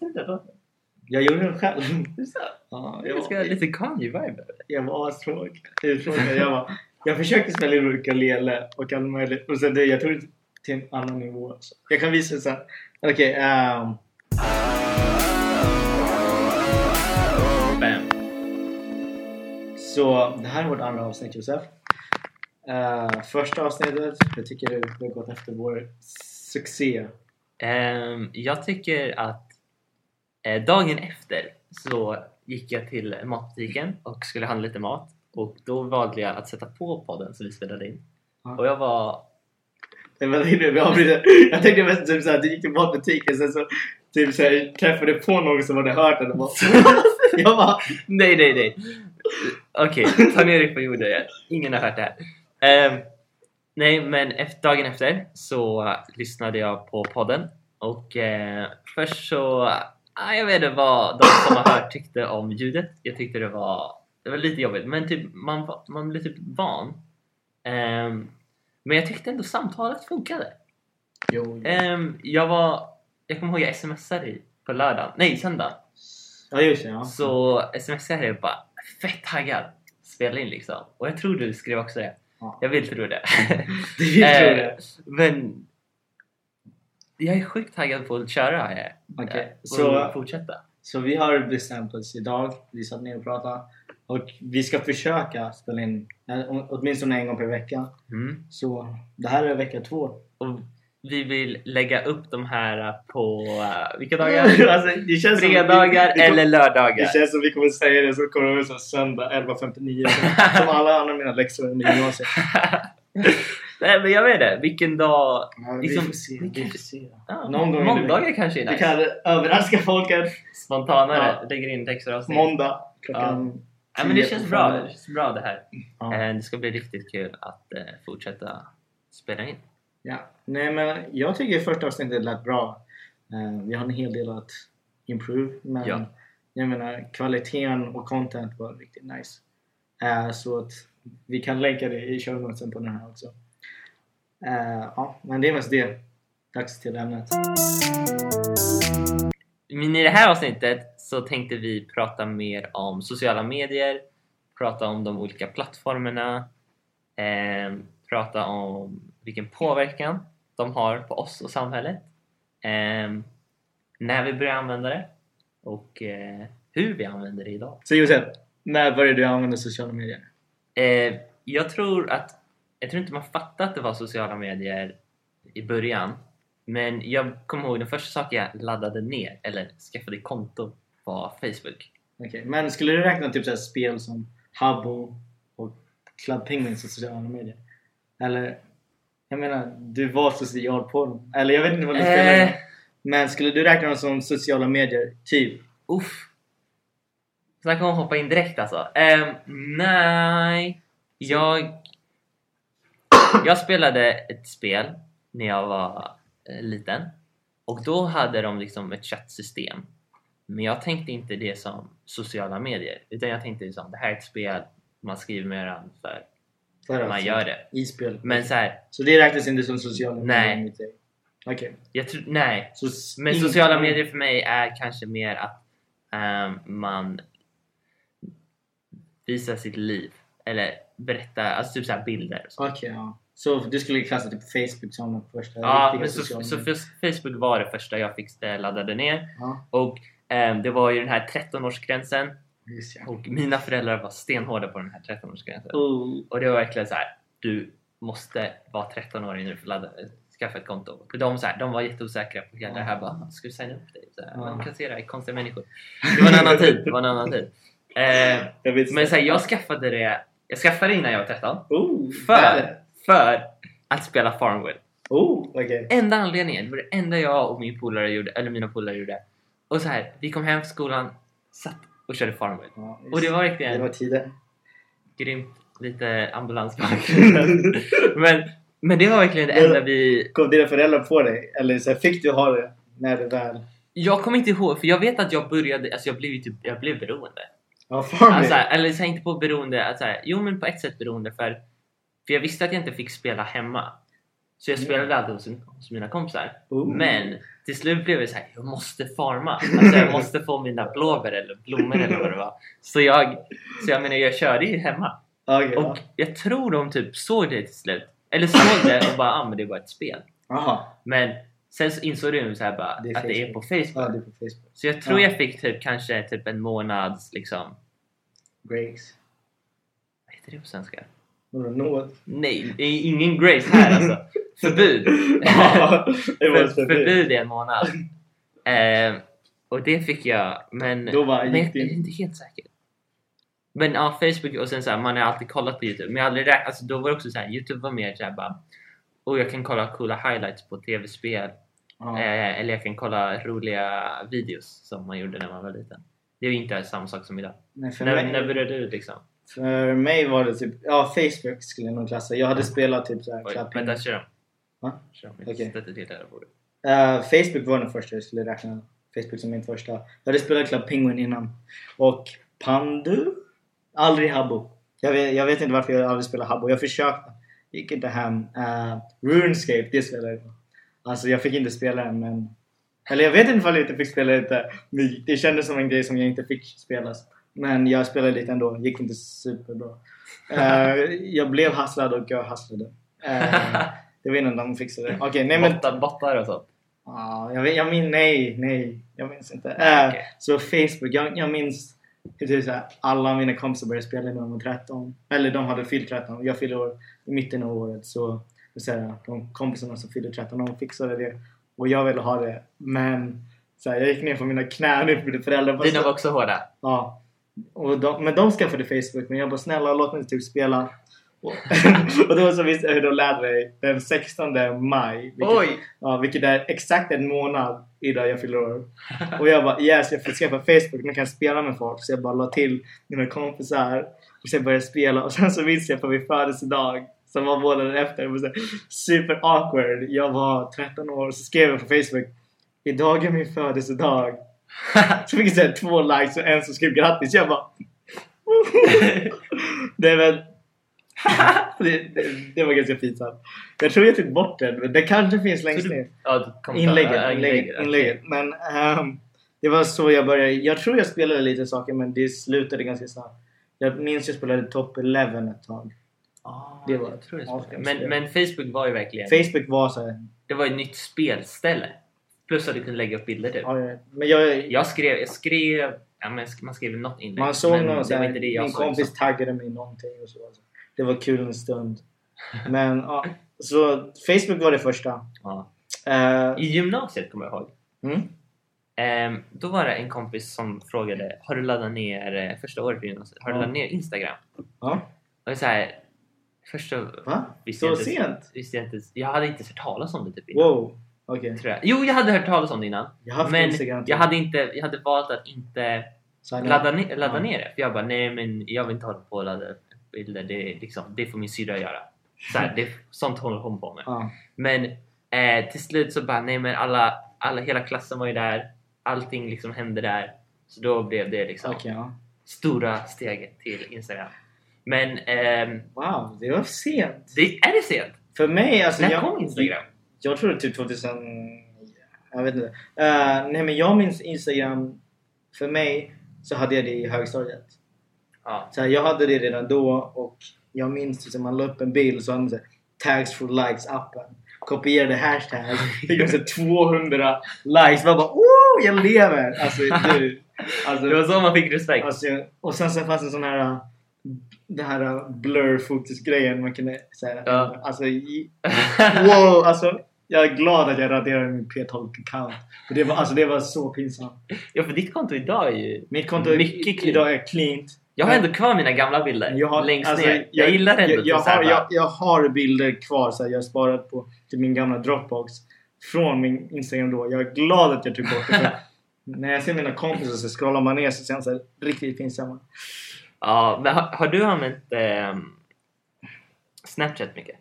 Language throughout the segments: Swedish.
inte för mig. Jag gjorde den själv. Så, Ja, jag, jag ska ha var, lite Kanye-vibe. jag var astråkig. Uttråkad. Jag, var, jag försökte spela in ukulele och allt möjligt. Och sen det, jag tog det till en annan nivå. Så jag kan visa sen. Okej. ehm. Bam. Så det här är vårt andra avsnitt Josef. Eh, första avsnittet, jag tycker du du har gått efter vår succé. Ehm, jag tycker att eh, dagen efter så gick jag till matbutiken och skulle handla lite mat och då valde jag att sätta på podden som vi spelade in. Ja. Och jag var... Nej, men nu, vi avbryter. Jag tänkte mest typ såhär, du gick till matbutiken sen så typ såhär, träffade på någon som hade hört den och bara, Jag bara Nej, nej, nej! Okej, ta ner dig på jorden igen. Ingen har hört det här. Ehm, nej, men efter, dagen efter så lyssnade jag på podden och eh, först så... Ah, jag vet inte vad de som har hört tyckte om ljudet. Jag tyckte det var, det var lite jobbigt, men typ, man, va- man blev typ van. Ehm, men jag tyckte ändå samtalet funkade. Jo. Ehm, jag var... Jag kommer ihåg jag smsade dig på lördagen, nej söndag. Ja just det, ja. Så smsade jag bara fett taggad. Spela in liksom. Och jag tror du skrev också det. Ja. Jag vill tro det. Vi tror Eh, det. Men jag är sjukt taggad på att köra här. Okej, Eh, och så- fortsätta. Så vi har bestämt oss idag, vi satt ner och pratade och vi ska försöka spela in eh, å- åtminstone en gång per vecka. Mm. Så det här är vecka två. Och vi vill lägga upp de här eh, på eh, vilka dagar? alltså, det känns som- Fredagar vi, vi, eller lördagar. Det känns som vi kommer säga det så kommer det vara söndag 11.59 som- som alla andra mina läxor under gymnasiet. Nej men jag vet det. Vilken dag? Ja, vi Liksom- får se. Vi får se. Ja, Någon gång i måndagar kanske är Vi nice. kan överraska folket Spontanare. Ja. Lägger in ett extra avsnitt. måndag klockan... Ja, men det tio känns på bra. fredag. Det känns bra det här. Ja. Eh, Det ska bli riktigt kul att eh, fortsätta spela in. Ja. Nej men jag tycker första avsnittet lät bra. Eh, Vi har en hel del att improve men Ja. jag menar kvaliteten och content var riktigt nice. Eh, Så att vi kan länka det i show notesen på den här också. Eh, Ja, men det är mest det. Dags till ämnet. Men i det här avsnittet så tänkte vi prata mer om sociala medier, prata om de olika plattformarna, eh, prata om vilken påverkan de har på oss och samhället, eh, när vi börjar använda det och eh, hur vi använder det idag. Så Josef, när började du använda sociala medier? Eh, jag tror att jag tror inte man fattade att det var sociala medier i början. Men jag kommer ihåg den första saken jag laddade ner eller skaffade konto var Facebook. Okej, men skulle du räkna typ så här spel som Habbo och Club Penguin som sociala medier? Eller? Jag menar, du var social på dem. Eller jag vet inte vad du spelar Eh, med. Men skulle du räkna dem som sociala medier? Typ? uff. Snacka om att hoppa in direkt alltså. Eh, nej, jag... Jag spelade ett spel när jag var eh, liten och då hade de liksom ett chattsystem. Men jag tänkte inte det som sociala medier utan jag tänkte liksom det här är ett spel man skriver med varandra för Så här man alltså, gör det. I spel. Men så här, Så det räknas inte som sociala Nej. medier? Nej. Okej. jag tror, nej. Så s- Men in- sociala medier för mig är kanske mer att ehm, man visar sitt liv eller berättar, alltså typ så här bilder. och så. Okej, ja. Så du skulle klassa typ Facebook som den första Ja, riktiga men så, sociala så medier? för- Facebook var det första jag fick eh, laddade ner Ja, och ehm, det var ju den här 13-årsgränsen just ja. och mina föräldrar var stenhårda på den här 13-årsgränsen. Oh. Och det var verkligen så här. du måste vara 13 år nu för att ladda, skaffa ett konto. Och De, så här, de var jätteosäkra på hela det här. Bara, ska du signa upp dig? Så här, Ja. Man kan se det här, konstiga människor. Det var en annan tid. Det var en annan tid. Eh, Jag vet men så här, jag skaffade det jag skaffade det innan jag var 13 Oh, för, för att spela Farmville. Oh, okej. Enda anledningen, det var det enda jag och min polare gjorde, eller mina polare gjorde. Och så här, vi kom hem från skolan, satt och körde Farmville. Ja, just Och det var det verkligen var tiden. grymt. Lite ambulansbakgrund. men, men det var verkligen det enda vi... Kom dina föräldrar på dig? Eller så här, fick du ha det när du väl... Jag kommer inte ihåg, för jag vet att jag började, alltså jag blev ju typ, jag blev beroende. Ja, farming! Alltså, eller så här, inte på alltså, beroende, att så här, jo men på ett sätt beroende för, för jag visste att jag inte fick spela hemma. Så jag spelade alltid hos, hos mina kompisar. Ooh. Men till slut blev det så här, jag måste farma. Alltså jag måste få mina blåbär eller blommor eller vad det var. Så jag, så jag menar jag körde ju hemma. Okej, ja. Och jag tror de typ såg det till slut. Eller såg det och bara, ah, men det är bara ett spel. Jaha, Men sen så insåg de så här bara, Det är att det är på Facebook. Facebook. ja, det är på Facebook. Så jag tror Ja. jag fick typ kanske typ en månads liksom, Breaks. vad heter det på svenska? Några nåd. Nej, det är ingen grace här alltså. Förbud. Ja, det var ett För, förbud. förbud i en månad. Eh, och det fick jag, men, Då bara men gick jag det är in. inte helt säker. Men ja, Facebook och sen så här, man har alltid kollat på Youtube. Men jag har aldrig räknat, alltså, då var det också så här, Youtube var mer så här bara och jag kan kolla coola highlights på tv-spel Ja. eh, eller jag kan kolla roliga videos som man gjorde när man var liten. Det är ju inte samma sak som idag. Nej, för, När, när mig, började du liksom? för mig var det typ, ja Facebook skulle jag nog klassa. Jag hade spelat typ såhär Oj, klapping. vänta, kör om. Va? Kör om, Okej. jag stötte till det här bordet. Eh, Facebook var den första jag skulle räkna. Facebook som min första. Jag hade spelat Club Penguin innan. Och Pandu? Aldrig Habbo. Jag vet, jag vet inte varför jag aldrig spelade Habbo. Jag försökte. Gick inte hem. Eh, RuneScape, det spelade jag. Alltså jag fick inte spela den men... Eller jag vet inte ifall jag inte fick spela lite. Men Det kändes som en grej som jag inte fick spela. Men jag spelade lite ändå. Gick inte superbra. Eh, jag blev hasslad och jag hasslade. Eh, jag vet inte om de fixade det. Okej, nej men... Botta- Bottar och sånt. Ja, jag, vet- jag minns... Nej, nej. Jag minns inte. Äh, Okej. Så Facebook. Jag, jag minns hur typ såhär, alla mina kompisar började spela när de var 13. Eller de hade fyllt 13. Jag fyllde år i mitten av året. Så, så här, de kompisarna som fyllde 13, de fixade det. Och jag ville ha det. Men så här, jag gick ner på mina knän nu för mina föräldrar. Bara, Dina var också hårda. ja. och de, men de skaffade Facebook. Men jag bara snälla låt mig typ spela. Och, och då så visste jag hur de lärde mig den 16 maj. vilket- Oj! Ja, vilket är exakt en månad idag jag fyller år. Och jag bara yes, jag får skaffa Facebook, nu kan jag spela med folk. Så jag bara la till mina kompisar och sen började jag spela. Och sen så minns jag på min födelsedag som var månaden efter. Det var så här super awkward. Jag var 13 år så skrev jag på Facebook Idag är min födelsedag. Så fick jag så här två likes och en som skrev grattis. Jag bara Nej men det, det, det var ganska pinsamt. Jag tror jag tog bort den. men Det kanske finns längst Så du- ner. Ja, du kom- ja, Inlägget, inlägget, inlägget. Men ehm, det var så jag började. Jag tror jag spelade lite saker men det slutade ganska snabbt. Jag minns jag spelade Top 11 ett tag. Ah, Det var- jag tror det ja, smakade. det men, men Facebook var ju verkligen... Facebook var så här, Det var ju ett nytt spelställe. Plus att du kunde lägga upp bilder typ. ja, ja. Men jag, Jag skrev... Jag skrev ja, men sk- man skrev något inlägg. man såg men någon det så var här, inte det jag min såg. kompis taggade mig i någonting och så. Alltså. Det var kul en stund. Men ja, så Facebook var det första. Ja. Eh, I gymnasiet kommer jag ihåg. mm, Ehm, då var det en kompis som frågade Har du laddat ner eh, första året i gymnasiet? Har du Ja. laddat ner Instagram? ja. Och så här, första Va? Visste Så jag inte- sent? visste jag inte... Jag hade inte hört talas om det typ innan. Wow. Okej. Tror jag. Jo, jag hade hört talas om det innan. Jag har haft men Instagram. jag hade, inte, jag hade valt att inte Signa- ladda, ner, ladda Ja. ner det. För jag bara, nej men jag vill inte hålla på och ladda upp bilder. Det, är liksom, det får min syrra göra. Så här, det, sånt håller hon på med. Ja. Men eh, till slut så bara, nej men alla, alla, hela klassen var ju där. Allting liksom hände där. Så då blev det liksom Okej, ja. stora steget till Instagram. Men ehm, Wow, det var sent. det, är det sent? För mig, alltså... När jag, kom Instagram? Jag tror typ 2000... Jag vet inte. Eh, nej men jag minns Instagram... För mig så hade jag det i högstadiet. Ja. Så här, jag hade det redan då och jag minns att man la upp en bild så hade man så här, tags for likes appen. Kopierade hashtag. Fick man så här 200 likes. Man bara oh, jag lever! Alltså du. Alltså, Det var så man fick respekt. Alltså, och sen så fanns det sån här äh, den här äh, blur fokus grejen man kunde säga Ja. alltså i- wow alltså jag är glad att jag raderade min P12 account för det var alltså det var så pinsamt. Ja, för ditt konto idag är ju... Mitt konto Mycket i- clean. idag är cleant. Jag har Men- ändå kvar mina gamla bilder Jag har- längst alltså, ner. Jag, gillar ändå jag, jag, att det är har, så här jag, jag har bilder kvar så här, jag har sparat på till min gamla Dropbox från min Instagram då. Jag är glad att jag tog bort det. för När jag ser mina kompisar så scrollar man ner så ser de så här riktigt pinsamma. Ja, men har, har du använt ehm, Snapchat mycket?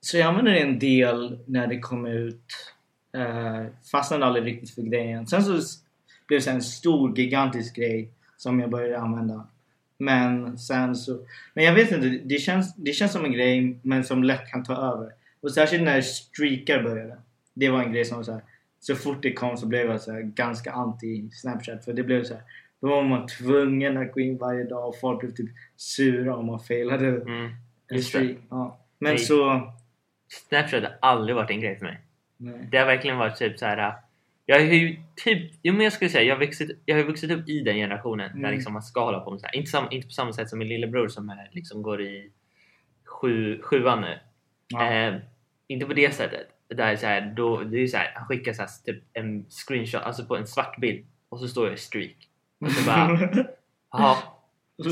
Så jag använde det en del när det kom ut. Eh, fastnade aldrig riktigt för grejen. Sen så s- blev det så här en stor gigantisk grej som jag började använda. Men sen så... Men jag vet inte, det känns, det känns som en grej men som lätt kan ta över. Och särskilt när streakar började. Det var en grej som var så här. Så fort det kom så blev jag så här, ganska anti Snapchat. För det blev så här. Då var man tvungen att gå in varje dag och folk blev typ sura om man failade Mm. en Just streak. det. Ja. Men Nej. så... Snapchat har aldrig varit en grej för mig. Nej. Det har verkligen varit typ så här. äh, Jag har ju typ, jo men jag skulle säga jag har vuxit, jag har vuxit upp i den generationen där Mm. liksom man ska hålla på med sådär. Inte, sam, inte på samma sätt som min lillebror som är, liksom går i sju, sjuan nu. Ja. Eh, inte på det sättet. Där så här, då, det är ju så här, han skickar så här, typ en screenshot, alltså på en svart bild och så står jag streak. Och så bara, jaha,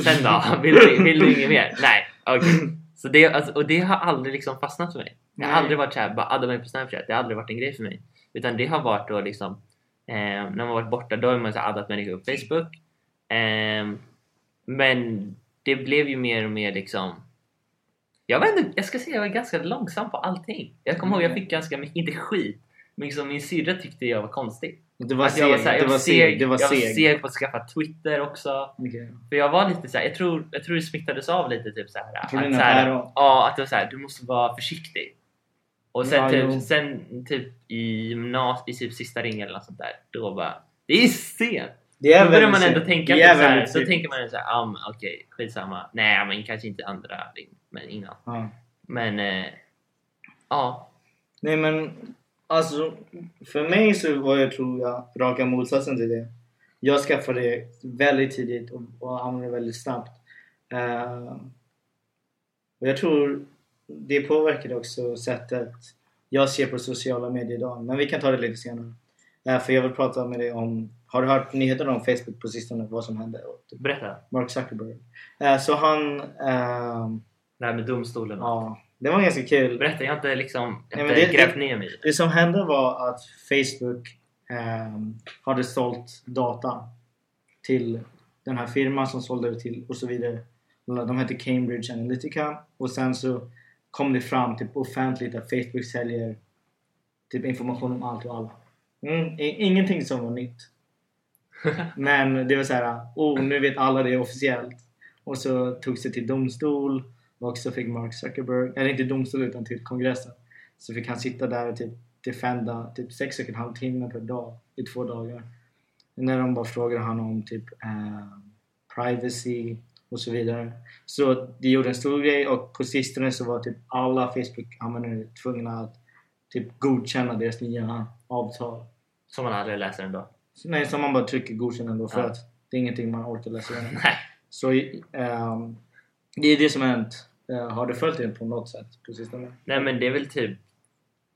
sen då? Vill du, vill du inget mer? Nej, okej. Så det, alltså, och det har aldrig liksom fastnat för mig. Det har Nej. aldrig varit såhär, bara adda mig på Snapchat. Det har aldrig varit en grej för mig. Utan det har varit då liksom, eh, när man varit borta då har man så här addat människor på Facebook. Ehm, men det blev ju mer och mer liksom, jag vet inte, jag ska säga jag var ganska långsam på allting. Jag kommer ihåg jag fick ganska mycket, inte skit, men liksom min syrra tyckte jag var konstig. Det var Att jag var seg. så här, Det jag var seg. Det var jag var seg. seg på att skaffa Twitter också. Okej. För jag var lite såhär, jag tror, jag tror det smittades av lite typ såhär. Tror du att, något såhär därav? ja, att det var såhär, du måste vara försiktig. Och sen, Ja, jo. typ, sen typ i gymnasiet, i typ sista ringen eller något sånt där, då bara, det är sent! Det Då börjar väldigt man ändå seg. tänka Det är typ såhär, väldigt så seg. tänker man ju såhär, ja men okej, skitsamma. Nej men kanske inte andra ring, men innan. Ja. Men, eh, ja. Nej men alltså för mig så var jag tror jag raka motsatsen till det. Jag skaffade det väldigt tidigt och, och hamnade väldigt snabbt. Eh, och jag tror det påverkade också sättet jag ser på sociala medier idag. Men vi kan ta det lite senare. Eh, för jag vill prata med dig om, har du hört nyheterna om Facebook på sistone? Vad som hände? Och typ Berätta. Mark Zuckerberg. Eh, så han, ehm, Det här med domstolen. ja det var ganska kul. Berätta, jag har inte liksom jag Nej, har men inte det- grävt det- ner mig i det. Det som hände var att Facebook ehm, hade sålt data till den här firman som sålde det till och så vidare. De hette Cambridge Analytica och sen så kom det fram typ offentligt att Facebook säljer typ information om allt och alla. Mm, i- ingenting som var nytt. Men det var så här, oh nu vet alla det officiellt. Och så togs det till domstol och så fick Mark Zuckerberg, eller inte domstol utan till kongressen. Så fick han sitta där och typ defenda typ sex och en halv timme per dag i två dagar. När de bara frågade han om typ eh, privacy och så vidare. Så det gjorde en stor grej och på sistone så var typ alla Facebook-användare tvungna att typ godkänna deras nya avtal. Som man aldrig läser ändå. Så, nej, så man bara trycker godkänna då för Ja. att det är ingenting man orkar läsa igenom. Nej. Så ehm, det är det som har hänt. Eh, har du följt det på något sätt på sistone? Nej men det är väl typ,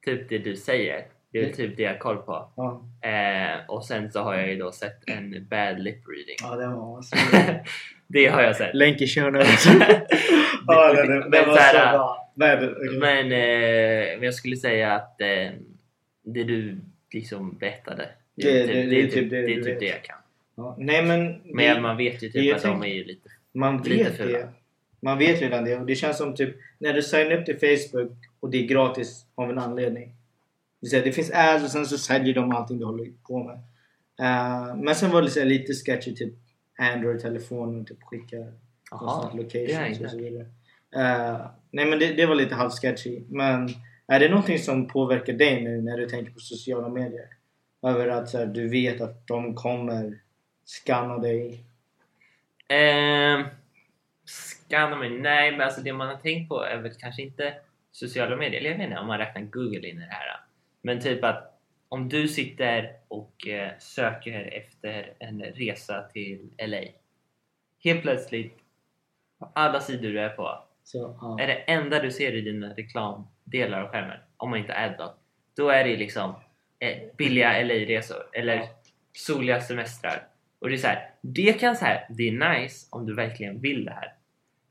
typ det du säger. Det är väl Mm. typ det jag har koll på. Ja, Eh, och sen så har jag ju då sett en bad lip reading. ja det var alltså. det har jag sett. Länk i show notes. ja, det, det, det, Men var så så här, bra. Nej, det, okej. Men, eh, men jag skulle säga att eh, det du liksom berättade. Det- är det- det, är typ, det, du är typ vet. det jag kan. ja, nej men, Men det, man, man vet ju typ det jag att de är ju lite... lite vet fula. det. Man vet redan det och det känns som typ när du signar upp till Facebook och det är gratis av en anledning. Det, vill säga, det finns ads och sen så säljer de allting du håller på med. Eh, men sen var det så här lite sketchy typ Android-telefoner typ skickar Jaha, Aha, det har jag locations inte och så hört. vidare. Eh, nej men det, det var lite halvsketchy. Men är det någonting som påverkar dig nu när du tänker på sociala medier? Över att så här, du vet att de kommer scanna dig? Ehm, scanna mig? Nej, men alltså det man har tänkt på är väl kanske inte sociala medier. Eller jag vet inte om man räknar Google in i det här. Men typ att om du sitter och eh, söker efter en resa till LA. Helt plötsligt, på alla sidor du är på, Så, ja. är det enda du ser i dina reklamdelar av skärmen, om man inte är ad då, då är det liksom eh, billiga LA-resor eller soliga semestrar. Och det är så här, det kan så här, det är nice om du verkligen vill det här.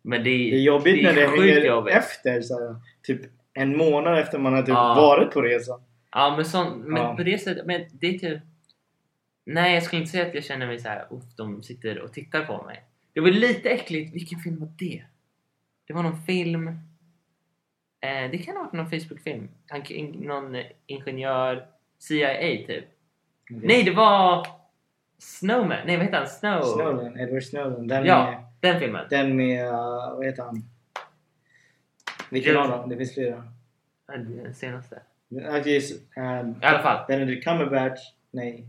Men det är, Det är jobbigt det är när det sjukt hänger jobbigt. efter. Så här, typ en månad efter man har typ Ja. varit på resan. Ja, men, sån, men Ja. på det sättet, men det är typ... Nej, jag skulle inte säga att jag känner mig så här, uff, de sitter och tittar på mig. Det var lite äckligt, vilken film var det? Det var någon film... Eh, det kan ha varit någon Facebook-film. Han- in- Någon eh, ingenjör, CIA typ. Nej, det var... Snowman, nej vad heter han? Snow... Snowden, Edward Snowden. Den med, eh, Ja, den filmen. den med uh, vad heter han? Vilken Jo. av dem? Det finns flera. Den senaste. Ja, precis. Ehm, I alla fall. Benedict Cumberbatch. Nej.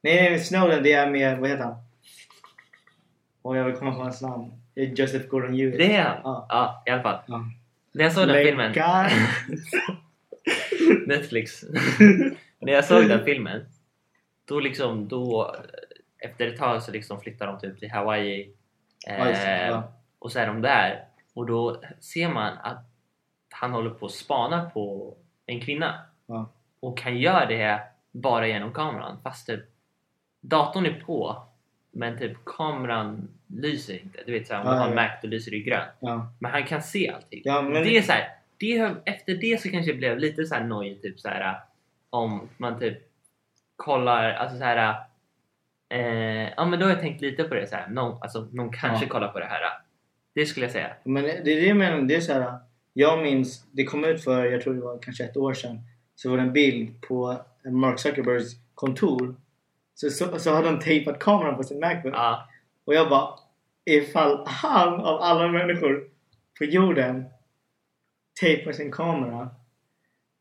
Nej, nej, Snowden det är med, vad heter han? Och jag vill komma på hans namn. Det är Joseph Gordon-Levitt. Det är han! Ja. Ja, i alla fall. Ja. När jag såg den filmen, Eh. Länkar. Netflix. När jag såg den filmen, då liksom, då efter ett tag så liksom flyttar de typ till Hawaii. Ja, just det, Eh, ja. och så är de där och då ser man att han håller på att spana på en kvinna. Ja. Och han gör det bara genom kameran fast typ datorn är på men typ kameran lyser inte. Du vet såhär om Ja, du ja, har en ja. Mac då lyser det i grönt. Ja. Men han kan se allting. Ja, men- Det är så här, det, har- efter det så kanske jag blev lite så här nojig typ så här om man typ kollar, alltså så här eh, ja men då har jag tänkt lite på det så här. Någon, alltså, någon kanske Ja. kollar på det här. Det skulle jag säga. Men det är det jag menar. Det är så här, jag minns, det kom ut för, jag tror det var kanske ett år sedan. Så var det en bild på Mark Zuckerbergs kontor. Så, så, så hade han tejpat kameran på sin Macbook. Ja, Och jag bara, ifall han av alla människor på jorden tejpar sin kamera.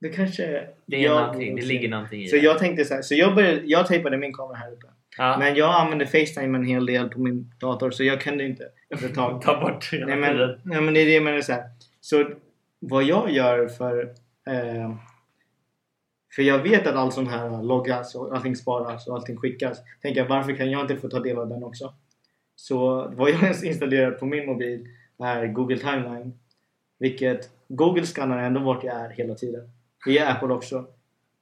Då kanske det är jag... någonting, det ligger någonting i Så det. jag tänkte så här, så jag, började, jag tejpade min kamera här uppe. ja. Men jag använde Facetime en hel del på min dator så jag kunde inte efter ett tag. Ta bort det. Nej men, nej men det är det jag menar så här. Så vad jag gör för... Eh, för jag vet att allt sånt här loggas och allting sparas och allting skickas. Tänker jag varför kan jag inte få ta del av den också? Så vad jag ens installerar på min mobil är Google Timeline. Vilket Google skannar ändå vart jag är hela tiden. Det gör Apple också.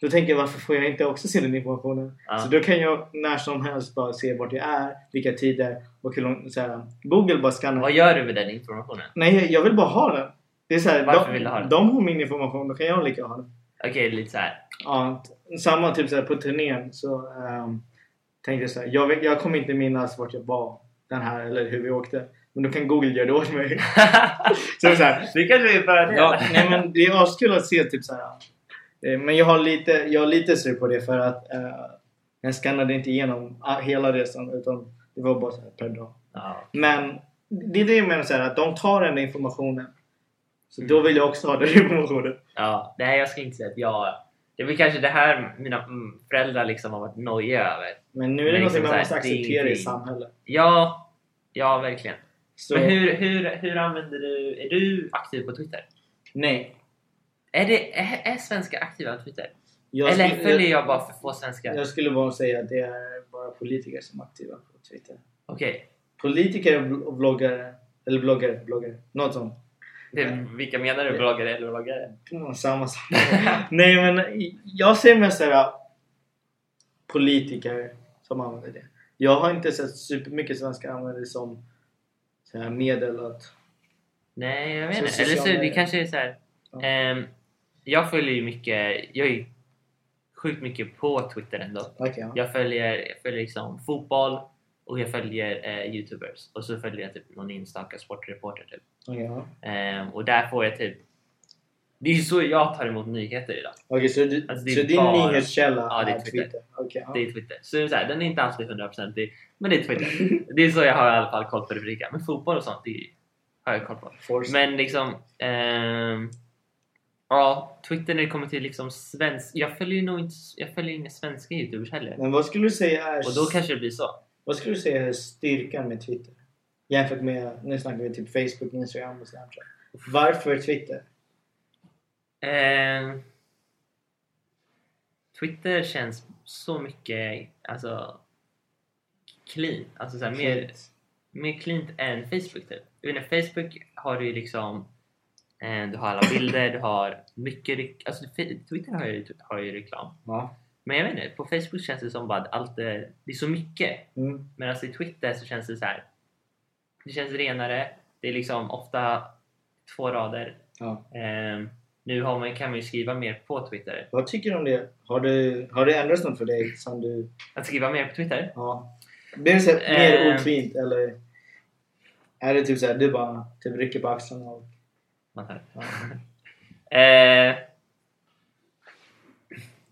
Då tänker jag varför får jag inte också se den informationen? Ja. Så då kan jag när som helst bara se vart jag är, vilka tider och hur långt... så här, Google bara skannar Vad gör du med den informationen? Nej, jag- jag vill bara ha den. Det är så här, Varför de, vill du ha den? de har min information, då kan jag lika gärna ha den. Okej, lite så här. Ja, t- samma typ så här, på turnén så ehm, tänkte jag så här, jag, vet- jag kommer inte minnas vart jag var den här eller hur vi åkte. Men då kan Google göra det åt mig. så det är så här, Vi kanske vill börja det. ja, nej, men det är askul att se typ så här. eh, Men jag har lite, jag är lite sur på det för att eh, jag skannade inte igenom ah, hela resan utan det var bara så här per dag. Ja. Men det är det jag menar så här, att de tar den informationen. Så då vill jag också ha den informationen. Ja, nej jag ska inte säga att jag... Det är väl kanske det här mina mm, föräldrar liksom har varit nojiga över. Men nu är det Men något liksom man så måste här, det är acceptera i ingenting. samhället. Ja, ja verkligen. Så, Men hur, hur, hur använder du... Är du aktiv på Twitter? Nej. Är, det, är, är svenskar aktiva på Twitter? Jag Eller skulle, följer jag, jag bara för få svenskar? jag skulle bara säga att det är bara politiker som är aktiva på Twitter. Okej, Politiker och bl- och bloggare. Eller bloggare, bloggare. Något sånt. det, vilka menar du? Bloggare eller bloggare? Mm, Samma sak. Nej men jag ser mest såhär politiker som använder det. Jag har inte sett supermycket svenskar använda det som så här, medel att Nej, jag vet Så inte. Eller så sociala- det kanske är så här. Ja. ehm, jag följer ju mycket, jag är ju sjukt mycket på Twitter ändå. Okej, ja. Jag följer, jag följer liksom fotboll och jag följer eh, Youtubers och så följer jag typ någon enstaka sportreporter typ. Okej, ja. Ehm, och där får jag typ det är ju så jag tar emot nyheter idag. Okej, så, du, Alltså, det är så din bara- nyhetskälla Ja, det är Twitter. Okej, ja. Det är Twitter. Så, det är så här, den är inte alltid 100% men det är Twitter. det är så jag har i alla fall koll på rubriker. Men fotboll och sånt, det har jag koll på. Force. Men liksom... ehm, ja, Twitter när det kommer till liksom svensk... Jag följer ju nog inte... Jag följer inga svenska youtubers heller. Men vad skulle du säga är, Och då kanske det blir så. vad skulle du säga är styrkan med Twitter? Jämfört med, nu snackar vi typ Facebook, Instagram och Snapchat. Varför Twitter? Ehm, Twitter känns så mycket... Alltså... Clean. Alltså så här, mer, mer cleant än Facebook typ. Jag vet inte, Facebook har du ju liksom... eh, Du har alla bilder, du har mycket... rek- Alltså Fe- Twitter har ju, har ju reklam. Ja. Men jag vet inte, på Facebook känns det som bara att allt är, det är så mycket. Mm. Medan i Twitter så känns det så här. Det känns renare. Det är liksom ofta två rader. ja. Ehm, nu har man, kan man ju skriva mer på Twitter. Vad tycker du om det? Har, du, har det ändrats något för dig? Som du, Att skriva mer på Twitter? ja. Blir det så här, mer Eh. ofint eller? Är det typ såhär, du bara typ rycker på axlarna och... Man hör. Ja. Ehm,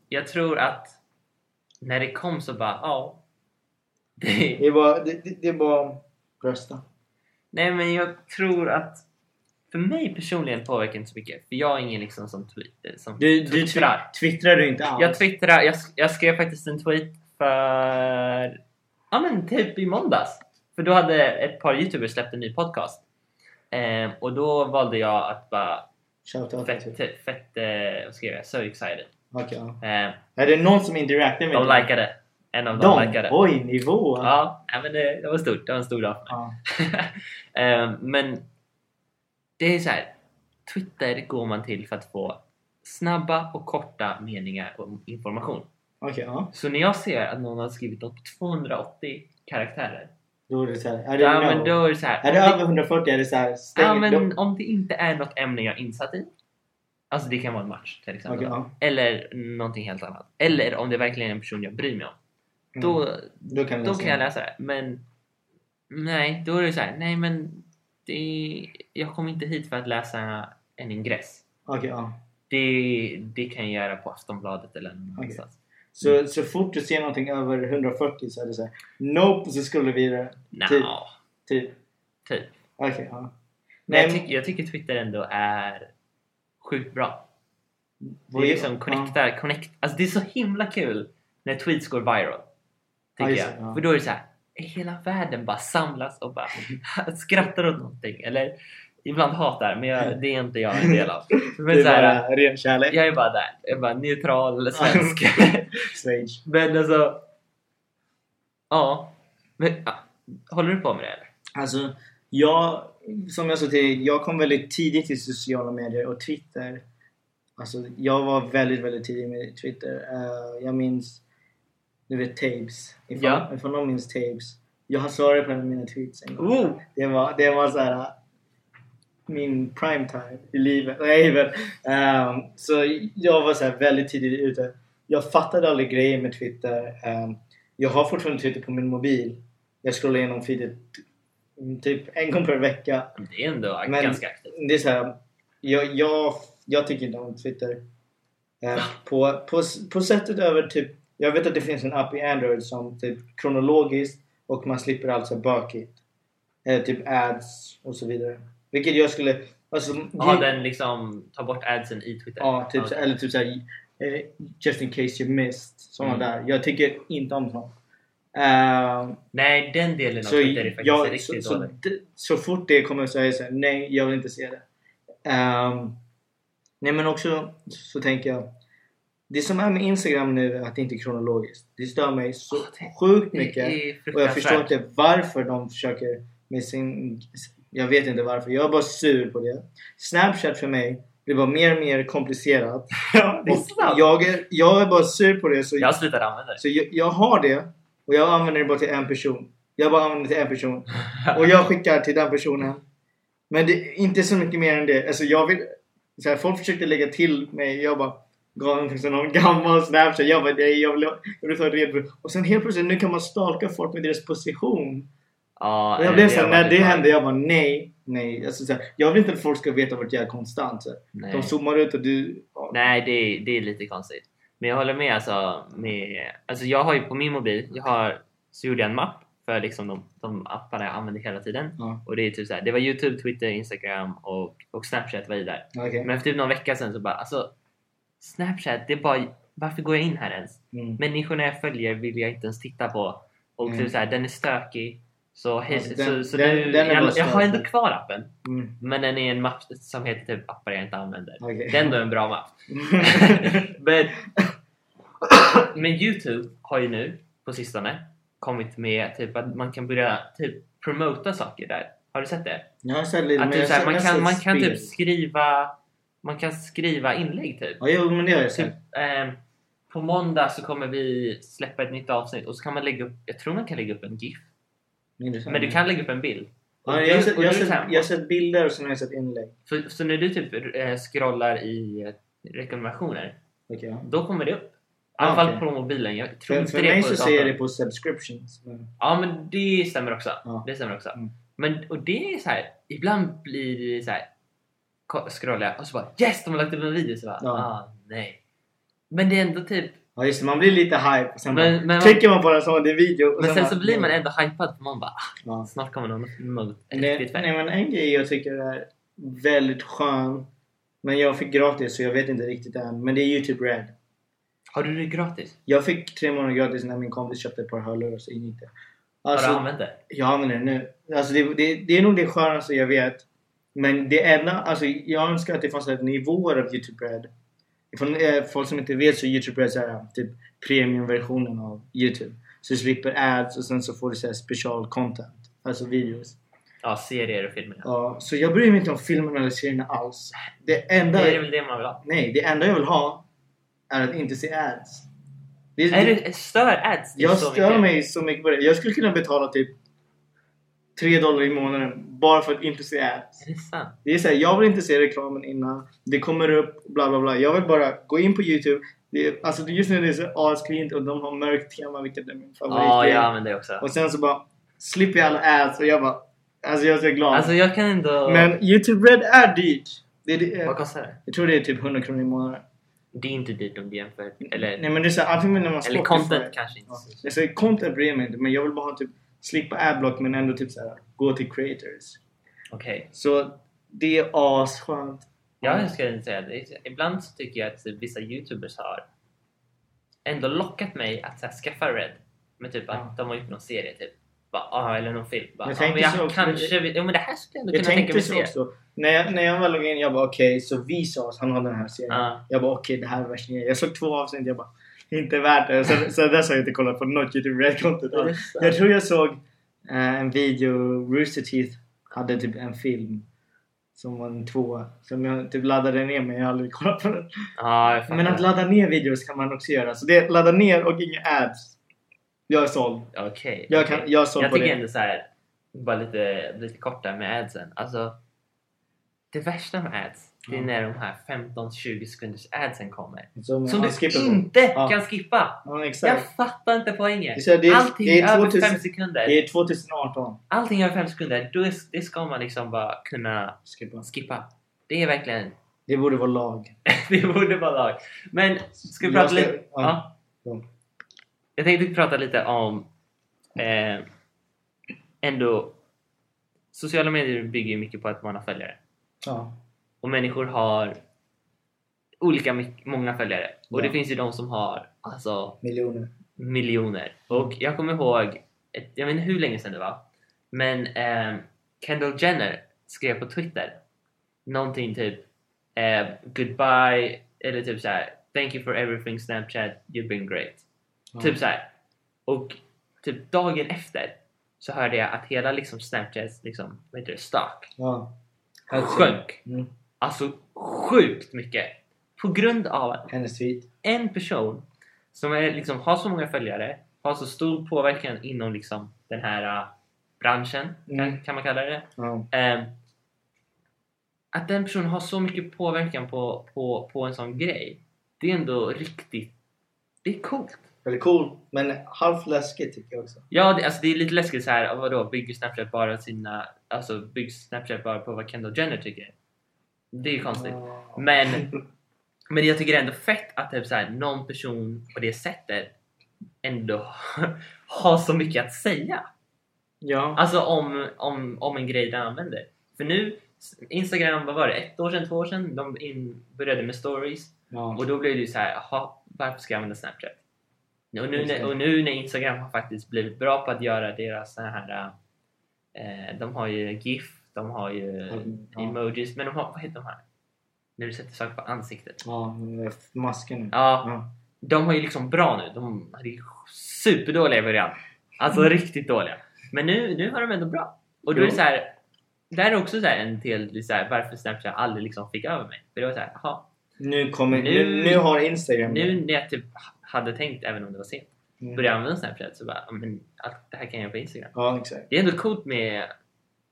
jag tror att när det kom så bara, ja. Det, Det är bara, det, det, det är bara att rösta. Nej men jag tror att för mig personligen påverkar det inte så mycket. För jag är ingen liksom som, twi- som Du, du twittrar. twi- twittrar du inte alls? Jag twittrar, jag, sk- jag skrev faktiskt en tweet för... Ja men typ i måndags. För då hade ett par youtubers släppt en ny podcast. Ehm, och då valde jag att bara Shoutout fett, till- fett, eh, vad skrev jag? So excited. Okej, ja. Ehm, Är det någon som interactar med de dig? likade. En av dem De? likade. Oj, nivå! Ja, nej, men det, det var stort. Det var en stor dag. Ja. Ehm, men det är så här. Twitter går man till för att få snabba och korta meningar och information. Okej, ja. Så när jag ser att någon har skrivit något på 280 karaktärer. Då är det såhär, är det Ja, no? men då är det så här. Är det om, över 140 är det såhär, det, stäng ja, då- men om det inte är något ämne jag är insatt i. Alltså det kan vara en match till exempel. Okej, ja. Mm. Eller någonting helt annat. Eller om det verkligen är en person jag bryr mig om. Mm. Då, då kan, då kan jag läsa det. Men nej, då är det så här. Nej, men det är, jag kom inte hit för att läsa en ingress. Okej, ja. Det, det kan jag göra på Aftonbladet eller någon Okej. annanstans. Så, så fort du ser någonting över 140 så är det såhär, nope, så skulle vi det. Nja, Typ. Typ. typ. Okej, ja. Men Nej, jag, tycker- jag tycker Twitter ändå är sjukt bra. Det vad- är liksom Ja. connectar, connect. Alltså det är så himla kul när tweets går viral. Tycker just det, jag. ja. För då är det så här. Hela världen bara samlas och bara skrattar åt någonting. Eller ibland hatar, men jag, det är inte jag en del av. Men det är så här, bara ren kärlek. jag är bara där. Jag är bara neutral eller svensk. Stage. men alltså... Ja. Men, ja. Håller du på med det eller? Alltså, jag, som jag sa till jag kom väldigt tidigt till sociala medier och Twitter. Alltså, jag var väldigt, väldigt tidig med Twitter. Eh, jag minns, du vet Tabes. Ifall, Ja. ifall någon minns Tabes. Jag svarade på en av mina tweets en gång. Oh! Det var, det var så här äh, min prime time i livet. Nej, men, ehm, så jag var så här väldigt tidigt ute. Jag fattade aldrig grejer med Twitter. Ehm, jag har fortfarande Twitter på min mobil. Jag scrollar igenom feedet mm, typ en gång per vecka. Det är ändå Men- ganska aktivt. Det är så här, jag, jag, jag tycker inte om Twitter. Eh, på, på, på sättet över typ, jag vet att det finns en app i Android som typ kronologiskt och man slipper alltså bökigt. Eh, typ ads och så vidare. Vilket jag skulle, alltså, Har ge- den liksom, ta bort adsen i Twitter? ja, typ, så- okej. eller typ såhär eh, just in case you missed. Sådana Mm. där. Jag tycker inte om sånt. Eh, Nej, den delen av så, Twitter är faktiskt jag, så, riktigt så, dålig. d- så fort det kommer så är jag såhär, nej jag vill inte se det. Ehm, nej men också så tänker jag, det som är med Instagram nu är att det inte är kronologiskt. Det stör mig så sjukt mycket. Ah, Det är Och jag förstår fruktansvärt. inte varför de försöker med sin... Jag vet inte varför. Jag är bara sur på det. Snapchat för mig blir bara mer och mer komplicerat. Ja, det är Och snabbt. jag, är, jag är bara sur på det. Så Jag har slutat använda det. så jag, jag har det och jag använder det bara till en person. Jag bara använder det till en person. Och jag skickar till den personen. Men det är inte så mycket mer än det. Alltså jag vill, så här, folk försökte lägga till mig. Jag bara gav en person någon gammal snapchat. Jag bara nej, jag vill, jag vill ta reda på det." Och sen helt plötsligt nu kan man stalka folk med deras position. Ja, Och jag blev eller typ- såhär har när varit det med. hände jag bara nej, nej. Alltså, så här, jag vill inte att folk ska veta vart jag är konstant. Så här. Nej. De zoomar ut och du... ja. Nej, det är, det är lite konstigt. Men jag håller med alltså. Med, alltså jag har ju på min mobil, jag har, så gjorde jag en mapp för liksom de, de apparna jag använder hela tiden. Ja, Och det är typ så här, det var Youtube, Twitter, Instagram och, och Snapchat var i där. okej. Men efter typ någon vecka sen så bara, alltså Snapchat, det är bara, varför går jag in här ens? Mm. Människorna jag följer vill jag inte ens titta på. Och Mm. typ så här, den är stökig. Så, hej, Alltså, den- så, så den- nu, den är bara jag, jag har ändå stökig. kvar appen. Mm. Men den är en mapp som heter typ appar jag inte använder. Okej. Det är ändå en bra mapp. men, men Youtube har ju nu på sistone kommit med typ att man kan börja typ promota saker där. Har du sett det? Jag har sett lite, Att men jag typ, såhär, har man, sett kan, ett man kan spel. typ skriva man kan skriva inlägg typ. Ja, jo, men det har jag sett. typ ehm, på måndag så kommer vi släppa ett nytt avsnitt och så kan man lägga upp, jag tror man kan lägga upp en GIF. Intressant. Men du kan lägga upp en bild. Och Mm. Ja, du- jag, har sett, och jag, har du är sett, såhär, jag har sett bilder och sen har jag sett inlägg. så, så när du typ eh, scrollar i eh, rekommendationer, Okej, ja. då kommer det upp. I Ah, alla fall okej. på mobilen. Jag tror För, inte för det är mig på så datorn. ser jag det på subscriptions. Men, Ja, men det stämmer också. Ja. Det stämmer också. Mm. Men, och det är så här, ibland blir det så här, ko- scrollar jag och så bara yes, de har lagt upp en video. Så bara, Ja. ah, nej. Men det är ändå typ, ja, just det, man blir lite hype. och Sen Men- bara, men- trycker man på den så har det en video. och men sen bara- så blir man ändå hypad för man bara, ah, Ja. snart kommer någon något Nej, riktigt fett. nej, men en grej jag tycker är väldigt skön. Men jag fick gratis så jag vet inte riktigt än. Men det är YouTube Red. Har du det gratis? Jag fick tre månader gratis när min kompis köpte ett par hörlurar så ingick det. Har du Alltså, använt det? jag använder det nu. Alltså det, det, det är nog det skönaste jag vet. Men det enda, alltså jag önskar att det fanns ett nivåer av YouTube Red. Ifall, eh, folk som inte vet så är YouTube Red så här, typ premiumversionen av YouTube. Så du slipper ads och sen så får du så här special content. Alltså videos. Ja, serier och filmer. Ja, så jag bryr mig inte om filmerna eller serierna alls. Det enda... Det är väl det man vill ha? Nej, det enda jag vill ha är att inte se ads. Det, Är det stör ads? dig jag så stör mycket? mig så mycket på det. Jag skulle kunna betala typ 3 dollar i månaden bara för att inte se ads. Är det sant? Det är såhär, jag vill inte se reklamen innan. Det kommer upp, bla bla bla. Jag vill bara gå in på YouTube. Det är, alltså just nu är det så asklint och de har mörkt tema vilket är min favoritgrej. Ah, Ja, jag använder det också. Och sen så bara slipper jag alla ads och jag bara... Alltså jag är så glad. Alltså jag kan ändå... Men YouTube Red är dyrt. Det är, det, Vad kostar det? jag tror det är typ 100 kronor i månaden. Det är inte dyrt om du jämför. Eller, Nej men det är såhär, antingen när man eller Spotify- content kanske inte. Ja. Alltså, content bryr jag mig inte men jag vill bara ha typ slippa adblock men ändå typ såhär gå till creators. Okej. Så det är asskönt. Jag skulle inte säga det. Ibland så tycker jag att vissa youtubers har ändå lockat mig att så här, skaffa Red. Men typ att Ja. de har gjort någon serie typ. Bara, ah, eller någon film. Bara, Jag ah, tänkte men så jag också. kanske vill... Jo men det här skulle jag ändå Jag kunna tänka tänkte mig så se. också. När jag, när jag väl loggade in jag bara okej så Vsauce han har den här serien. Ja. Jag bara okej det här är värsta grejen. Jag såg två avsnitt jag bara inte värt det. Så, så dess har jag inte kollat på något youtube red content Det är alls. sant. Jag tror jag såg eh, en video Rooster Teeth hade typ en film som var en tvåa som jag typ laddade ner men jag har aldrig kollat på den. Ja, jag Men att fattar. ladda ner videos kan man också göra. Så det är ladda ner och inga ads. Jag är såld. Okej. Jag, okej. kan, jag är såld jag på tycker det. ändå så här, bara lite, lite kort där med adsen. Alltså, det värsta med ads, det är Ja. när de här 15-20 sekunders adsen kommer. Som, Som Mm. ja, du skippa på. inte Ja. kan skippa! Ja, Jag exakt. fattar inte poängen! Så det är- Allting det är över 2000 5 sekunder, Det är 2018. allting över 5 sekunder, då är, det ska man liksom bara kunna Skippa. skippa. Det är verkligen, Det borde vara lag. det borde vara lag. Men, ska vi Jag prata ska- lite? ja. Ja. Jag tänkte prata lite om eh, ändå sociala medier bygger ju mycket på att man har följare Ja. och människor har olika my- många följare och det Ja. finns ju de som har alltså Miljoner. miljoner och jag kommer ihåg ett, jag vet inte hur länge sedan det var men eh, Kendall Jenner skrev på Twitter någonting typ eh, goodbye eller typ så här thank you for everything Snapchat you've been great Ja. Typ så här. Och typ dagen efter så hörde jag att hela liksom Snapchats liksom, vad heter det, stock Ja. sjönk. Mm. Alltså sjukt mycket. På grund av att Hennes tweet. en person som är, liksom, har så många följare, har så stor påverkan inom liksom, den här äh, branschen, Mm. kan, kan man kalla det. Ja. Ehm, att den personen har så mycket påverkan på, på, på en sån grej, det är ändå riktigt, det är coolt. Väldigt cool. Men halvt läskigt tycker jag också. Ja, det, alltså det är lite läskigt så här, vadå, bygger Snapchat bara sina, alltså bygger Snapchat bara på vad Kendall Jenner tycker? Det Mm. är ju konstigt. Ja. Men, men jag tycker det är ändå fett att typ så här, någon person på det sättet ändå har så mycket att säga. Ja. Alltså om, om, om en grej den använder. För nu, Instagram, vad var det, ett år sedan, två år sedan, de in, började med stories ja. och då blev det ju så här, jaha, varför ska jag använda Snapchat? Och nu, Just det. när, och nu när Instagram har faktiskt blivit bra på att göra deras så här... Eh, de har ju GIF, de har ju Ja. emojis, men de har, vad heter de här? När du sätter saker på ansiktet. Ja, men det är masken nu. Ja, Ja. de har ju liksom bra nu. De hade ju superdåliga i början. Alltså riktigt dåliga. Men nu, nu har de ändå bra. Och då är Mm. det Jo. så här, där är också så här en del så här, varför Snapchat aldrig liksom fick över mig. För det var så här, jaha, Nu kommer... Nu- Nu, nu har Instagram... nu när jag typ hade tänkt, även om det var sent, Mm. började använda Snapchat så bara, "Ja, men allt det här kan jag göra på Instagram. Ja, exakt. Det är ändå coolt med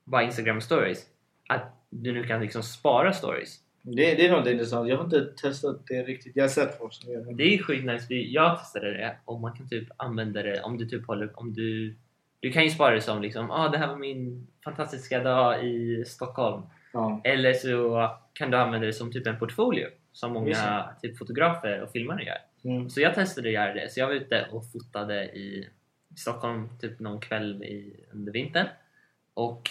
bara Instagram stories. Att du nu kan liksom spara stories. Det, det är något intressant. Jag har inte testat det riktigt. Jag har sett folk som gör det. Det är skitnice. Det- Jag testade det och man kan typ använda det om du typ håller, om du du kan ju spara det som liksom, ah det här var min fantastiska dag i Stockholm. Ja. Eller så kan du använda det som typ en portfolio som Just många typ fotografer och filmare gör. Mm. Så jag testade att göra det. Så jag var ute och fotade i Stockholm typ någon kväll i, under vintern. Och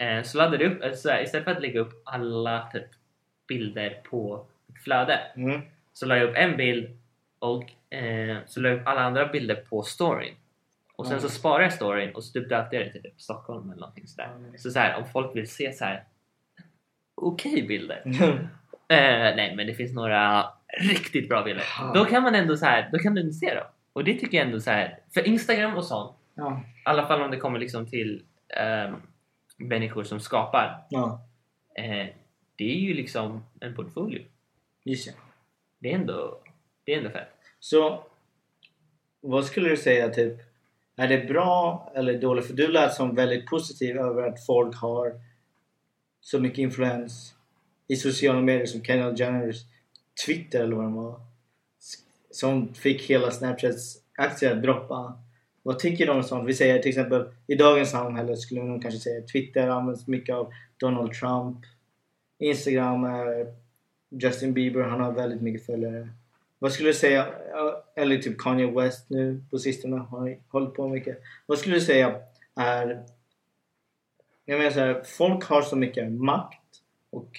Eh, så laddade jag upp, eh, så här, istället för att lägga upp alla typ, bilder på ett flöde Mm. så la jag upp en bild och eh, så la jag upp alla andra bilder på storyn. Och sen så Mm. sparade jag storyn och så typ döpte jag det till typ Stockholm eller någonting sådär. Mm. Så, så här, om folk vill se så här okej bilder. Eh, nej men det finns några riktigt bra bilder. Ja. Då kan man ändå så här, då kan du se dem. Och det tycker jag ändå så här, för Instagram och sånt, ja. i alla fall om det kommer liksom till ehm, människor som skapar. ja, Eh, det är ju liksom en portfolio. just det. Det är ändå, det är ändå fett. Så vad skulle du säga typ är det bra eller dåligt? För du lät som väldigt positiv över att folk har så mycket influens i sociala medier som Kendall Jenners Twitter eller vad det var s- som fick hela Snapchats aktier att droppa. Vad tycker du om sånt? Vi säger till exempel i dagens samhälle skulle man kanske säga att Twitter används mycket av Donald Trump. Instagram är Justin Bieber, han har väldigt mycket följare. Vad skulle du säga, eller typ Kanye West nu på sistone har hållit på mycket. Vad skulle du säga är... Jag menar såhär, folk har så mycket makt och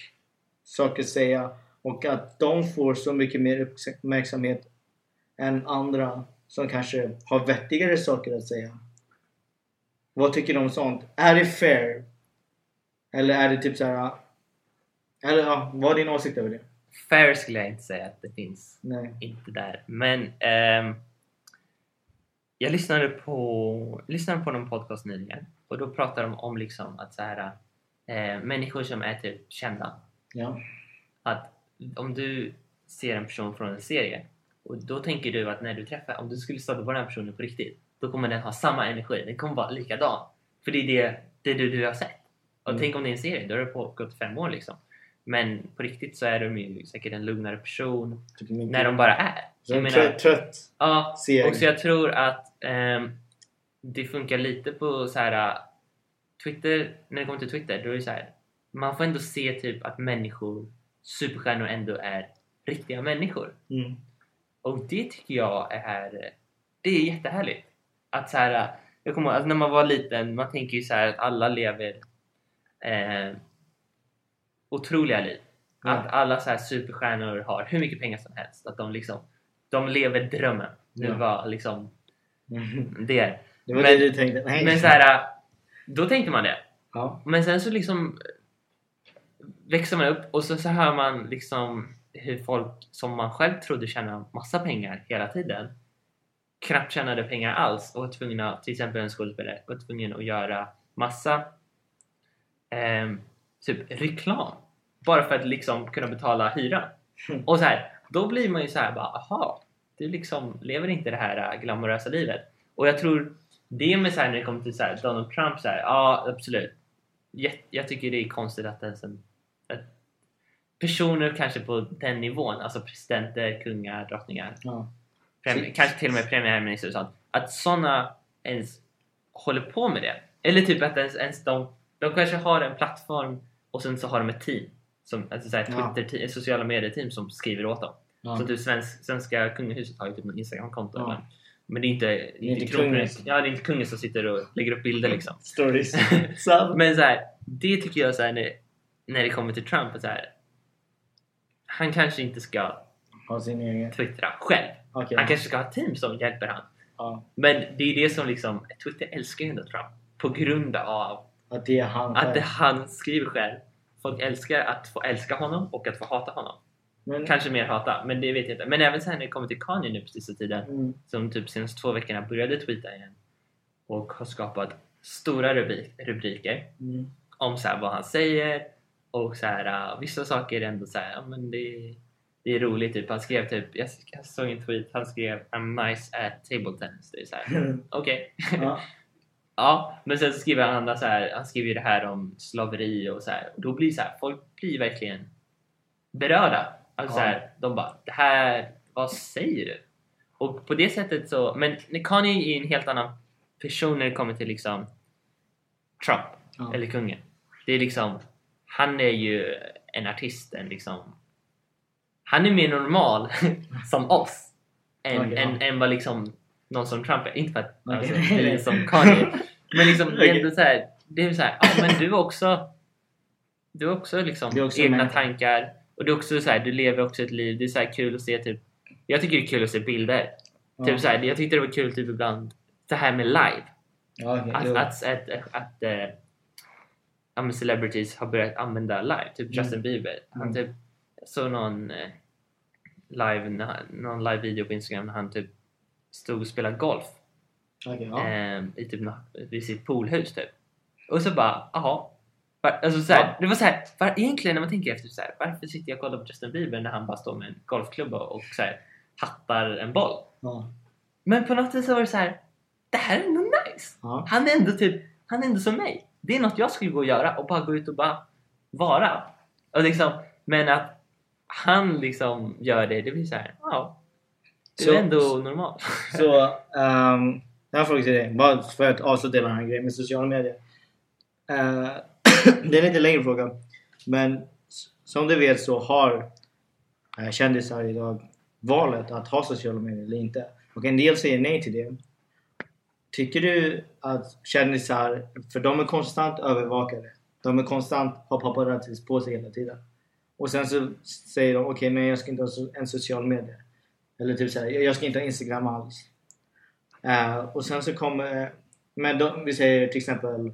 saker att säga och att de får så mycket mer uppmärksamhet än andra som kanske har vettigare saker att säga. Vad tycker du om sånt? Är det fair? Eller är det typ såhär... Eller ja, vad är din åsikt över det? Fair skulle jag inte säga att det finns. Nej. Inte där. Men ehm, jag lyssnade på, lyssnade på någon podcast nyligen och då pratade de om liksom att så här, eh, människor som är typ kända. Ja. Att om du ser en person från en serie och då tänker du att när du träffar, om du skulle stöta på den här personen på riktigt då kommer den ha samma energi, den kommer vara likadan. För det är det, det är det du har sett. Och Mm. tänk om det är en serie, då har det pågått fem år liksom. Men på riktigt så är de ju säkert en lugnare person Typ mycket. när de bara är. Så Jag en menar- trött, trött Ja, serie. och så jag tror att ehm, det funkar lite på så här eh, Twitter, när det kommer till Twitter, då är det så här, man får ändå se typ att människor, superstjärnor ändå är riktiga människor. Mm. Och det tycker jag är, det är jättehärligt. Att så här, eh, jag kommer ihåg, alltså när man var liten, man tänker ju så här att alla lever eh, otroliga liv. Ja. Att alla så här superstjärnor har hur mycket pengar som helst. Att de liksom, de lever drömmen. Det Ja. var liksom Mm. det. Det var Men- det du tänkte? Nej. Men så här, äh, då tänkte man det. Ja. Men sen så liksom eh, växer man upp och så, så hör man liksom hur folk som man själv trodde tjänade massa pengar hela tiden knappt tjänade pengar alls och var tvungna, till exempel en skådespelare, var tvungen att göra massa ehm, typ reklam bara för att liksom kunna betala hyran. Mm. Och så här, då blir man ju så här bara aha, du liksom lever inte det här äh, glamorösa livet. Och jag tror det med så här när det kommer till så här Donald Trump så här, ja absolut. Jag, jag tycker det är konstigt att ens en att personer kanske på den nivån, alltså presidenter, kungar, drottningar ja. prem- Shit. kanske till och med premiärminister och sånt, att sådana ens håller på med det. Eller typ att ens, ens de, de kanske har en plattform och sen så har de ett team, som, alltså så här Ja. Twitter, ett sociala medier-team som skriver åt dem. Ja. Så typ svensk, svenska kungahuset har ju typ något Instagram-konto. Ja. Men, men det är inte, det är inte inte kungen. kungen. Ja, det är inte kungen som sitter och lägger upp bilder liksom. Stories. Så. Men så här, det tycker jag så här, när, när det kommer till Trump, att så här, han kanske inte ska Har sin egen. twittra själv. Okej. Han kanske ska ha ett team som hjälper han. Ja. Men det är det som liksom, Twitter älskar ju ändå Trump på grund av Att det är han att det själv. han skriver själv. Folk älskar att få älska honom och att få hata honom. Men, Kanske mer hata, men det vet jag inte. Men även sen när det kommer till Kanye nu på sista tiden, mm. som typ senaste två veckorna började tweeta igen och har skapat stora rubrik, rubriker Mm. om så här vad han säger och så här, uh, vissa saker är ändå så här, ja, men det, det är roligt typ. Han skrev typ, jag, jag såg en tweet, han skrev I'm nice at table tennis. Det är så här, okej. Mm. ja. Ja, men sen så skriver han andra så här, han skriver ju det här om slaveri och så här. Och då blir så här, folk blir verkligen berörda. Alltså Ja. så här, de bara, det här, vad säger du? Och på det sättet så, men Kanye är en helt annan person när det kommer till liksom Trump Ja. eller kungen. Det är liksom, han är ju en artist, en liksom, han är mer normal som oss än, Okej, ja. än, än vad liksom någon som Trump är. Inte för att Okej. alltså, det är som Kanye. Men liksom, det är ändå så här, det är så här, ja men du är också du har också liksom Du är också en egna människa. tankar och du är också så här, du lever också ett liv. Det är så här kul att se typ jag tycker det är kul att se bilder. Ja. Typ så här, jag tyckte det var kul typ ibland det här med live. Ja, okej, Att, jo. att, att, att, att eh, ja, men celebrities har börjat använda live. Typ Justin Bieber. Han Mm. typ såg någon eh, live, när han- någon live video på Instagram när han typ stod och spelade golf Okej, ja. eh, i typ, nå- vid sitt poolhus typ. Och så bara, jaha. Var- Alltså så här, Ja. Det var så här, var, egentligen när man tänker efter så här, varför sitter jag och kollar på Justin Bieber när han bara står med en golfklubba och så här, hattar en boll? Ja. Men på något vis så var det så här, det här är ändå nice! Ja. Han är ändå typ, han är ändå som mig. Det är något jag skulle gå och göra och bara gå ut och bara vara. Och liksom, men att han liksom gör det, det blir så här, ja. Det Så- är ändå normalt. Så, um, jag har en fråga till dig. Bara för att avsluta hela den här grejen med sociala medier. Eh, det är en lite längre fråga. Men s- som du vet så har eh, kändisar idag valet att ha sociala medier eller inte. Och en del säger nej till det. Tycker du att kändisar, för de är konstant övervakade. De är konstant, har paparazzis på sig hela tiden. Och sen så säger de okej men jag ska inte ha so- en social media. Eller typ såhär, jag jag ska inte ha Instagram alls. Eh, och sen så kommer, men de, vi säger till exempel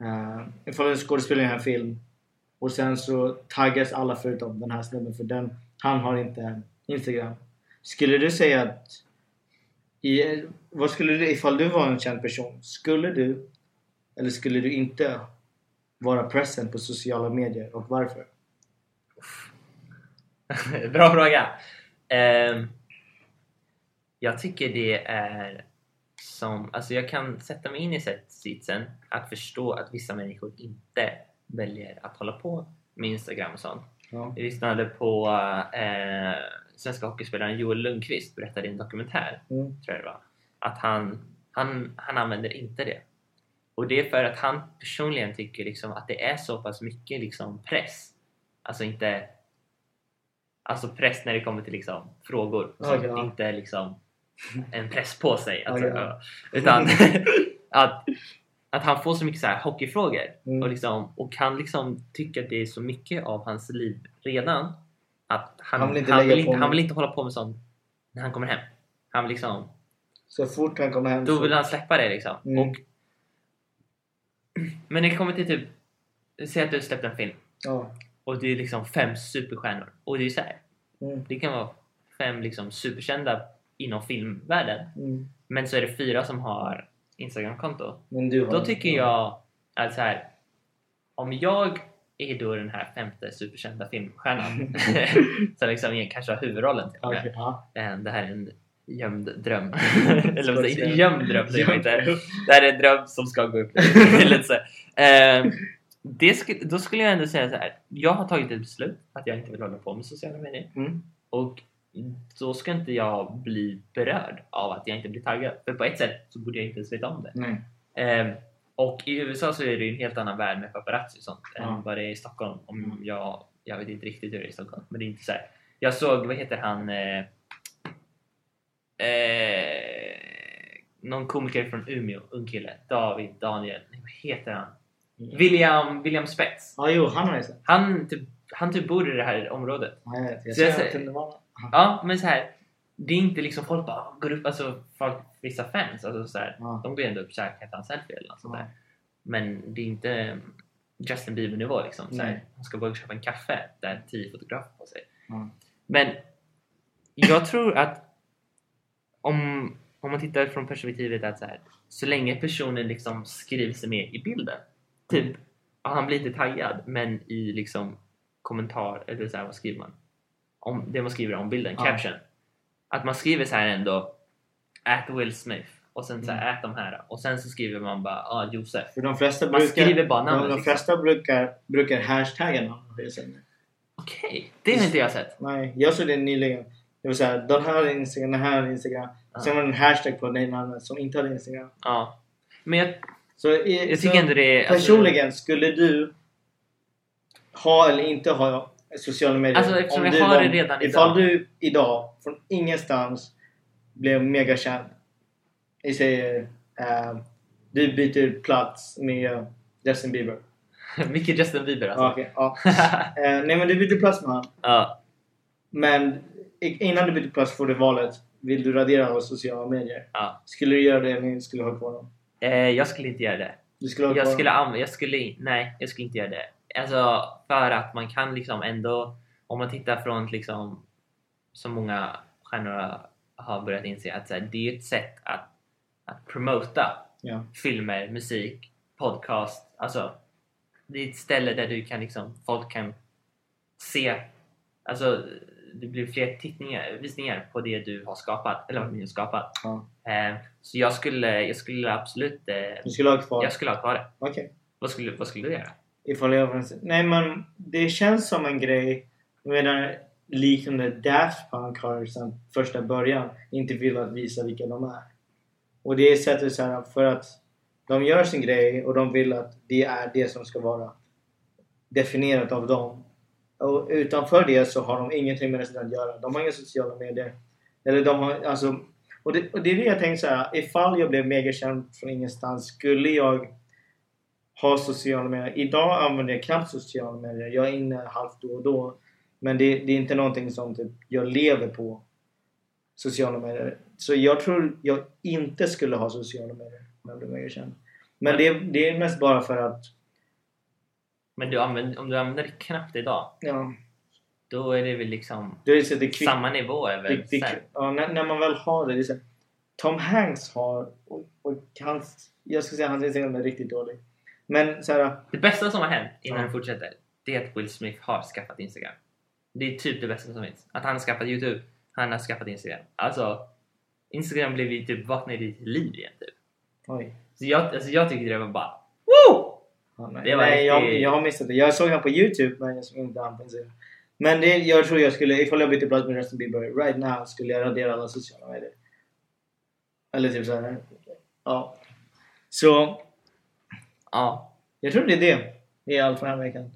eh, ifall en skådespelare gör en film och sen så taggas alla förutom den här snubben för den, han har inte Instagram. Skulle du säga att, i, vad skulle du, ifall du var en känd person, skulle du eller skulle du inte vara present på sociala medier och varför? Bra fråga! Ehm, jag tycker det är som, alltså jag kan sätta mig in i sit- sitsen att förstå att vissa människor inte väljer att hålla på med Instagram och sånt. Ja. Jag lyssnade på eh, svenska hockeyspelaren Joel Lundqvist berättade i en dokumentär, Mm. tror jag det var, att han, han, han använder inte det. Och det är för att han personligen tycker liksom att det är så pass mycket liksom press. Alltså inte... Alltså press när det kommer till liksom frågor. och sånt. Okej, ja. Inte liksom en press på sig. Alltså, Okej, ja. Utan att, att han får så mycket så här hockeyfrågor. Mm. Och, liksom, och han liksom tycker att det är så mycket av hans liv redan att Han han, vill han, vill, inte inte han, lägga vill, på inte, han med- vill inte hålla på med sånt när han kommer hem. Han vill liksom, Så fort han kommer hem då så- vill han släppa det liksom. Mm. Och, men det kommer till typ, säg att du släppt en film Ja. och det är liksom fem superstjärnor. Och det är så här, Mm. det kan vara fem liksom superkända inom filmvärlden. Mm. Men så är det fyra som har Instagramkonto. Men du har Då tycker jag att så här, om jag är då den här femte superkända filmstjärnan som liksom egentligen kanske har huvudrollen till och med. Okej, ja. Eh, Det här är en gömd dröm. Eller vad säger Skådespelare. jag? Gömd dröm säger man inte. Det här är en dröm som ska gå upp. Lite så. här. Eh, Det skulle, då skulle jag ändå säga så här. Jag har tagit ett beslut att jag inte vill hålla på med sociala medier. Mm. Och då ska inte jag bli berörd av att jag inte blir taggad. För på ett sätt så borde jag inte ens veta om det. Nej. Ehm, och i USA så är det ju en helt annan värld med paparazzi och sånt Ja. än vad det är i Stockholm. Om jag, jag vet inte riktigt hur det är i Stockholm, men det är inte så här. Jag såg, vad heter han? Eh, eh, någon komiker från Umeå, ung kille. David, Daniel, nej, vad heter han? William, William Spets. Ja, jo, han har ju sett. Han typ, han typ bor i det här området. Ja, jag vet. Jag Så jag ser att säger- det var... Ja, men så här. Det är inte liksom folk bara går upp, alltså folk, vissa fans, alltså så här, Ja. de går ändå upp och käkar en selfie eller något sånt Ja. där. Men det är inte Justin Bieber nivå liksom. Så här, Nej. han ska bara köpa en kaffe där tio fotografer på sig. Ja. Men jag tror att om, om man tittar från perspektivet att så, här, så länge personen liksom skriver sig med i bilden. Typ, ja, han blir inte taggad men i liksom kommentar, eller så här, vad skriver man? Om, det man skriver om bilden, Ja. caption. Att man skriver så här ändå, ät Will Smith och sen så här, ät de här och sen så skriver man bara, ja ah, Josef. För de flesta Man brukar... skriver bara namnet, de, de liksom. flesta brukar, brukar hashtagga namn. det är så. Okej, det har inte jag sett. Nej, jag såg det nyligen. Det var såhär, den här hade Instagram, den här hade Instagram. Ja. Sen var det en hashtag på det namnet som inte hade Instagram. Ja. Men jag, Så, i, jag så tycker ändå det är... alltså, personligen, skulle du ha eller inte ha sociala medier? Alltså, eftersom jag du har det redan Ifall idag. du idag, från ingenstans, blev megakänd. Vi säger, eh, du byter plats med Justin Bieber. Mycket Justin Bieber Ja, alltså. okej, ja. Eh, nej men du byter plats med honom. ja. Men i- innan du byter plats får du valet. Vill du radera av sociala medier? ja. Skulle du göra det om du skulle ha kvar dem? Eh, jag skulle inte göra det. Du skulle ha kvar Jag dem. skulle, anv- jag skulle, nej, jag skulle inte göra det. Alltså för att man kan liksom ändå, om man tittar från liksom, som många stjärnor har börjat inse, att så här, det är ett sätt att, att promota Ja. filmer, musik, podcast. Alltså, det är ett ställe där du kan liksom, folk kan se, alltså det blir fler tittningar, visningar på det du har skapat, eller vad ni har skapat. Ja. Eh, så jag skulle, jag skulle absolut, eh, Du skulle ha kvar jag skulle ha kvar det. Okej. Vad skulle, vad skulle du göra? Ifall jag var en- Nej men det känns som en grej. Jag menar liknande Daft Punk har sedan första början inte velat visa vilka de är. Och det är sättet så här för att de gör sin grej och de vill att det är det som ska vara definierat av dem. Och utanför det så har de ingenting med det att göra. De har inga sociala medier. Eller de har, alltså, och, det, och det är det jag tänkte så här. ifall jag blev megakänd från ingenstans skulle jag ha sociala medier. Idag använder jag knappt sociala medier. Jag är inne halvt då och då. Men det, det är inte någonting som typ, jag lever på. Sociala medier. Så jag tror jag inte skulle ha sociala medier om jag blev megakänd. Men det, det är mest bara för att... Men du använder, om du använder det knappt idag, Ja, då är det väl liksom det är så att det kvick, samma nivå är väl det, det, sen. ja, när, när man väl har det. det är så här, Tom Hanks har... Och, och hans, jag skulle säga hans Instagram är riktigt dålig. Men så här, Det bästa som har hänt innan Ja. du fortsätter, det är att Will Smith har skaffat Instagram. Det är typ det bästa som finns. Att han har skaffat Youtube, han har skaffat Instagram. Alltså, Instagram blev ju typ vaknade i till liv igen typ. oj. Så jag, alltså jag tyckte det var bara Woo! Ja, nej, Det var nej jag, riktigt- jag har missat det. Jag såg han på Youtube men jag såg inte han på Instagram. Men det, jag tror jag skulle, ifall jag bytte plats med Justin Bieber right now skulle jag radera alla sociala medier. Eller typ såhär. Ja. Så Ja. jag tror det är det. Det är allt för den här veckan.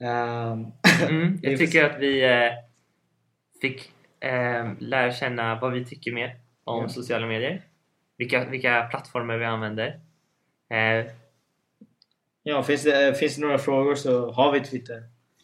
Ehm, Mm, Det är jag tycker att vi eh, fick eh, lära känna vad vi tycker mer om Ja. sociala medier. Vilka, vilka plattformar vi använder. Eh, ja, finns det, finns det några frågor så har vi Twitter.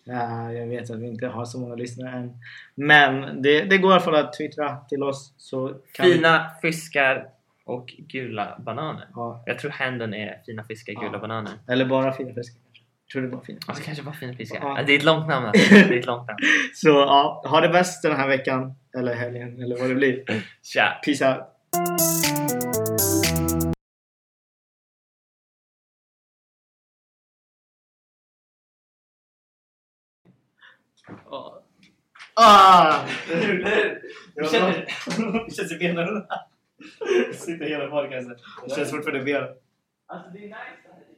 Eh, jag vet att vi inte har så många lyssnare än. Men det, det går i alla fall att twittra till oss. Så kan vi- fina fiskar och gula bananer. Ja, Jag tror handen är fina fiskar, gula Ja. bananer. eller bara fina fiskar kanske. Jag tror det är bara fina. Alltså kanske bara fina fiskar. Ja. Ah, Det är ett långt namn alltså. Det är ett långt namn. Så ja, ha det bäst den här veckan. Eller helgen, eller vad det blir. Tja! Peace out! Ah! Hur känner Det känns i benen. Sitter hela podcasten. Det känns fortfarande i benen. Alltså det är nice.